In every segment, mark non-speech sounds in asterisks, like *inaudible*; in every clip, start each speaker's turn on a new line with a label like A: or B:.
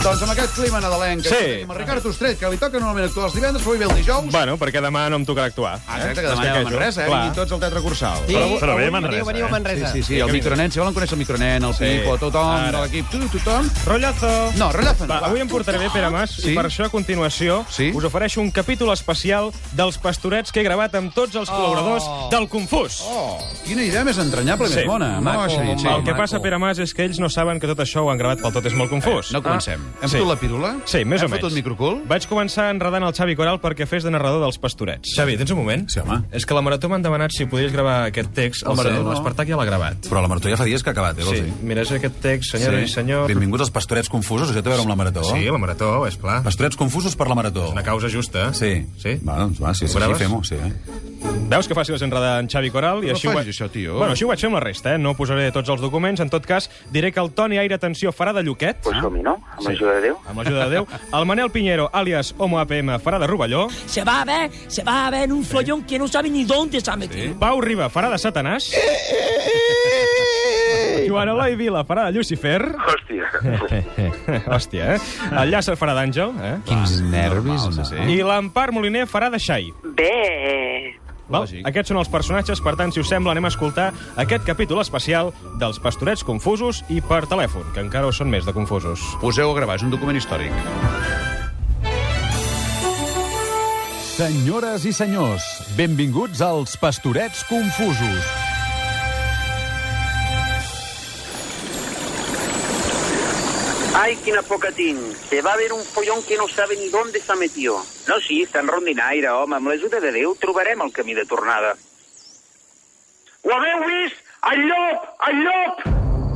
A: Doncs amb aquest clima nadalenc que
B: Sí. Mm.
A: tenim el Ricard Ostret, que li toca normalment actuar els divendres, però avui ve el dijous.
B: Bueno, perquè demà no em tocarà actuar.
A: Ah, Exacte,
B: eh?
A: que demana a
B: Descaquejo.
A: Manresa, eh?
B: Clar.
A: Vinguin tots al Teatre Cursal.
C: Sí,
D: Però- però
C: avui
D: ve a Manresa,
C: Veniu, veniu a
D: eh?
A: Sí,
C: Manresa.
A: sí, sí, el micronen, si volen conèixer el micronen, el
B: Sí.
A: Pipo, tothom
B: Ara.
A: de l'equip, tu, tothom...
B: Rotllazo!
A: No, rellafa'ns.
B: Va, avui em portaré bé, Pere Mas,
A: Sí?
B: i per això, a continuació,
A: Sí?
B: us ofereixo un capítol especial dels pastorets que he gravat amb tots els col·laboradors del Confús.
A: Oh, quina idea més entranyable,
B: Sí.
A: més bona.
C: Maco,
A: Maco, Xerit, sí.
B: El que
C: maco.
B: passa, Pere Mas, és que ells no saben que tot això ho han gravat pel Tot és molt confús.
A: Eh, No comencem.
B: Ah,
A: Hem
B: sí.
A: fotut la pirula?
B: Sí, més o
A: Hem fotut
B: menys.
A: microcul?
B: Vaig començar enredant el Xavi Coral perquè fes de narrador dels pastorets.
D: Xavi, tens un moment?
E: Sí, home.
B: És que la Marató m'han demanat si podies gravar aquest text. El,
A: Marató
B: el,
A: no.
B: l'Espartac ja l'ha gravat.
E: Però la marató ja fa dies que ha acabat, eh, vols
B: Sí,
E: dir?
B: mira, és aquest text, senyora i Oh. senyor.
E: Benvinguts als Pastorets Confusos, això té a veure amb la marató.
D: Sí, la marató, és clar.
E: Pastorets Confusos per la marató.
D: Una causa justa.
E: Sí.
D: Sí?
E: Va, doncs va, sí, sí,
D: Braves?
E: sí fem-ho, sí. Eh?
B: Veus que fàcil és enredar en Xavi Coral? I
A: No
B: així ho
A: facis
B: vaig-
A: això, tio.
B: Bueno, així ho vaig fer amb la resta, eh? No posaré tots els documents. En tot cas, diré que el Toni Aire Atenció farà de Lloquet.
F: Pues som-hi, no? Amb l'ajuda de Déu.
B: Amb l'ajuda de Déu. El Manel Piñero, alias Homo APM, farà de Rovelló.
G: Se va a ver, se va a ver en un follón que no sabe ni dónde se ha metido.
B: Pau Riba farà de
D: *laughs*
B: Satanàs. Joan Eloi Vila farà de Lucifer.
F: Hòstia.
B: *laughs* Hòstia, eh? El Llàcer farà d'Àngel, eh?
C: Quins nervis. no?
B: I l'Empar Moliner farà de Xai.
F: Bé,
B: Val?
A: Lògic.
B: Aquests són els personatges, per tant, si us sembla, anem a escoltar aquest capítol especial dels Pastorets Confusos i per telèfon, que encara ho són més de confusos.
A: Poseu a gravar, és un document històric.
E: Senyores i senyors, benvinguts als Pastorets Confusos.
F: Ay, quina poca tinc. Se va a ver un follón que no sabe ni dónde s'ha metido. No, sí, està en rondinaire, home. Amb l'ajuda de Déu trobarem el camí de tornada. Ho haveu vist? El llop! El llop!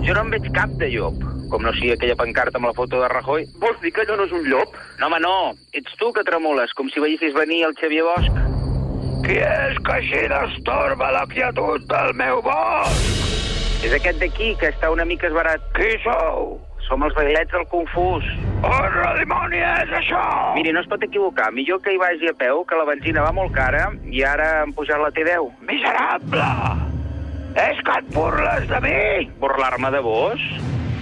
F: Jo no en veig cap de llop. Com no sigui aquella pancarta amb la foto de Rajoy. Vols dir que allò no és un llop? No, home, no. Ets tu que tremoles, com si veiessis venir el Xavier Bosch. Qui és que així destorba la quietud del meu bosc? És aquest d'aquí, que està una mica esbarat. Qui sou? Som els vailets del Confús. On demoni és això? Miri, no es pot equivocar. Millor que hi vagi a peu, que la benzina va molt cara i ara han pujat la T10. Miserable! És que et burles de mi! Burlar-me de vos?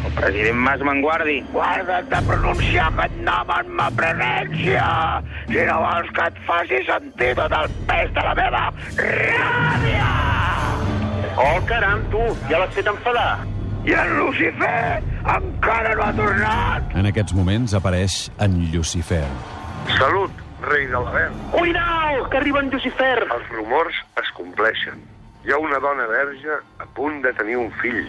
F: El president Mas me'n guardi. Guarda't de pronunciar aquest nom en ma presència, si no vols que et faci sentir tot el pes de la meva ràbia! Oh, caram, tu, ja l'has fet enfadar. I en Lucifer encara no ha tornat.
E: En aquests moments apareix en Lucifer.
H: Salut, rei de l'Avern.
F: Cuidao, que arriba en Lucifer.
H: Els rumors es compleixen. Hi ha una dona verge a punt de tenir un fill.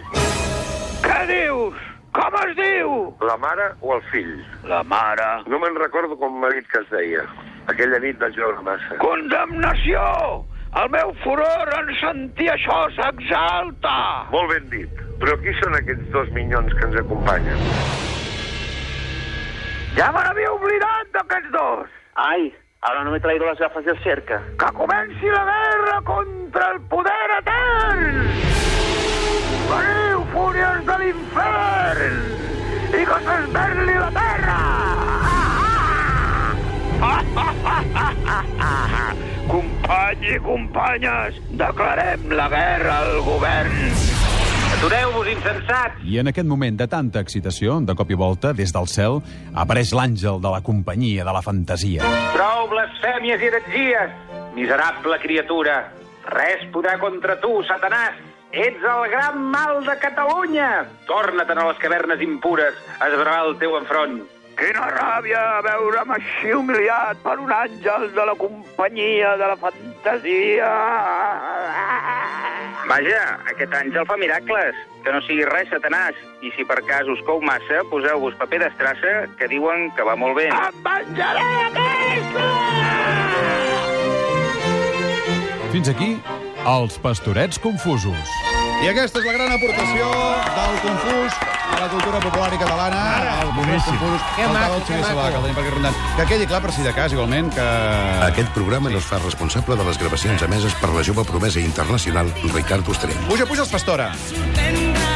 F: Què dius? Com es diu?
H: La mare o el fill?
F: La mare.
H: No me'n recordo com m'ha dit que es deia. Aquella nit vaig veure massa.
F: Condemnació! El meu furor en sentir això s'exalta.
H: Molt ben dit. Però qui són aquests dos minyons que ens acompanyen?
F: Ja me n'havia oblidat d'aquests dos. Ai, ara no m'he traït les gafes de cerca. Que comenci la guerra contra el poder etern! Veniu, fúries de l'infern! I que s'esberli la *laughs* terra! Companys i companyes, declarem la guerra al govern. Atureu-vos, insensats!
E: I en aquest moment de tanta excitació, de cop i volta, des del cel, apareix l'àngel de la companyia, de la fantasia.
F: Prou blasfèmies i heretgies, miserable criatura. Res podrà contra tu, Satanàs. Ets el gran mal de Catalunya. Torna-te'n a les cavernes impures, a esbravar el teu enfront.
H: Quina ràbia veure'm així humiliat per un àngel de la companyia de la fantasia.
F: Vaja, aquest àngel fa miracles. Que no sigui res, Satanàs. I si per cas us cou massa, poseu-vos paper d'estrassa, que diuen que va molt bé. Em venjaré aquesta!
E: Fins aquí, els Pastorets Confusos.
A: I aquesta és la gran aportació del Confús a la cultura popular i catalana. El boníssim. Confús,
C: Que
A: el
C: maco,
A: del Xavier
C: que
A: Sabà,
C: maco.
A: que el tenim per aquí rondant. Que quedi clar, per si de cas, igualment, que...
I: Aquest programa no es fa responsable de les gravacions emeses per la jove promesa internacional Ricard Ostret.
A: Puja, puja els Pastora.
G: Vendrá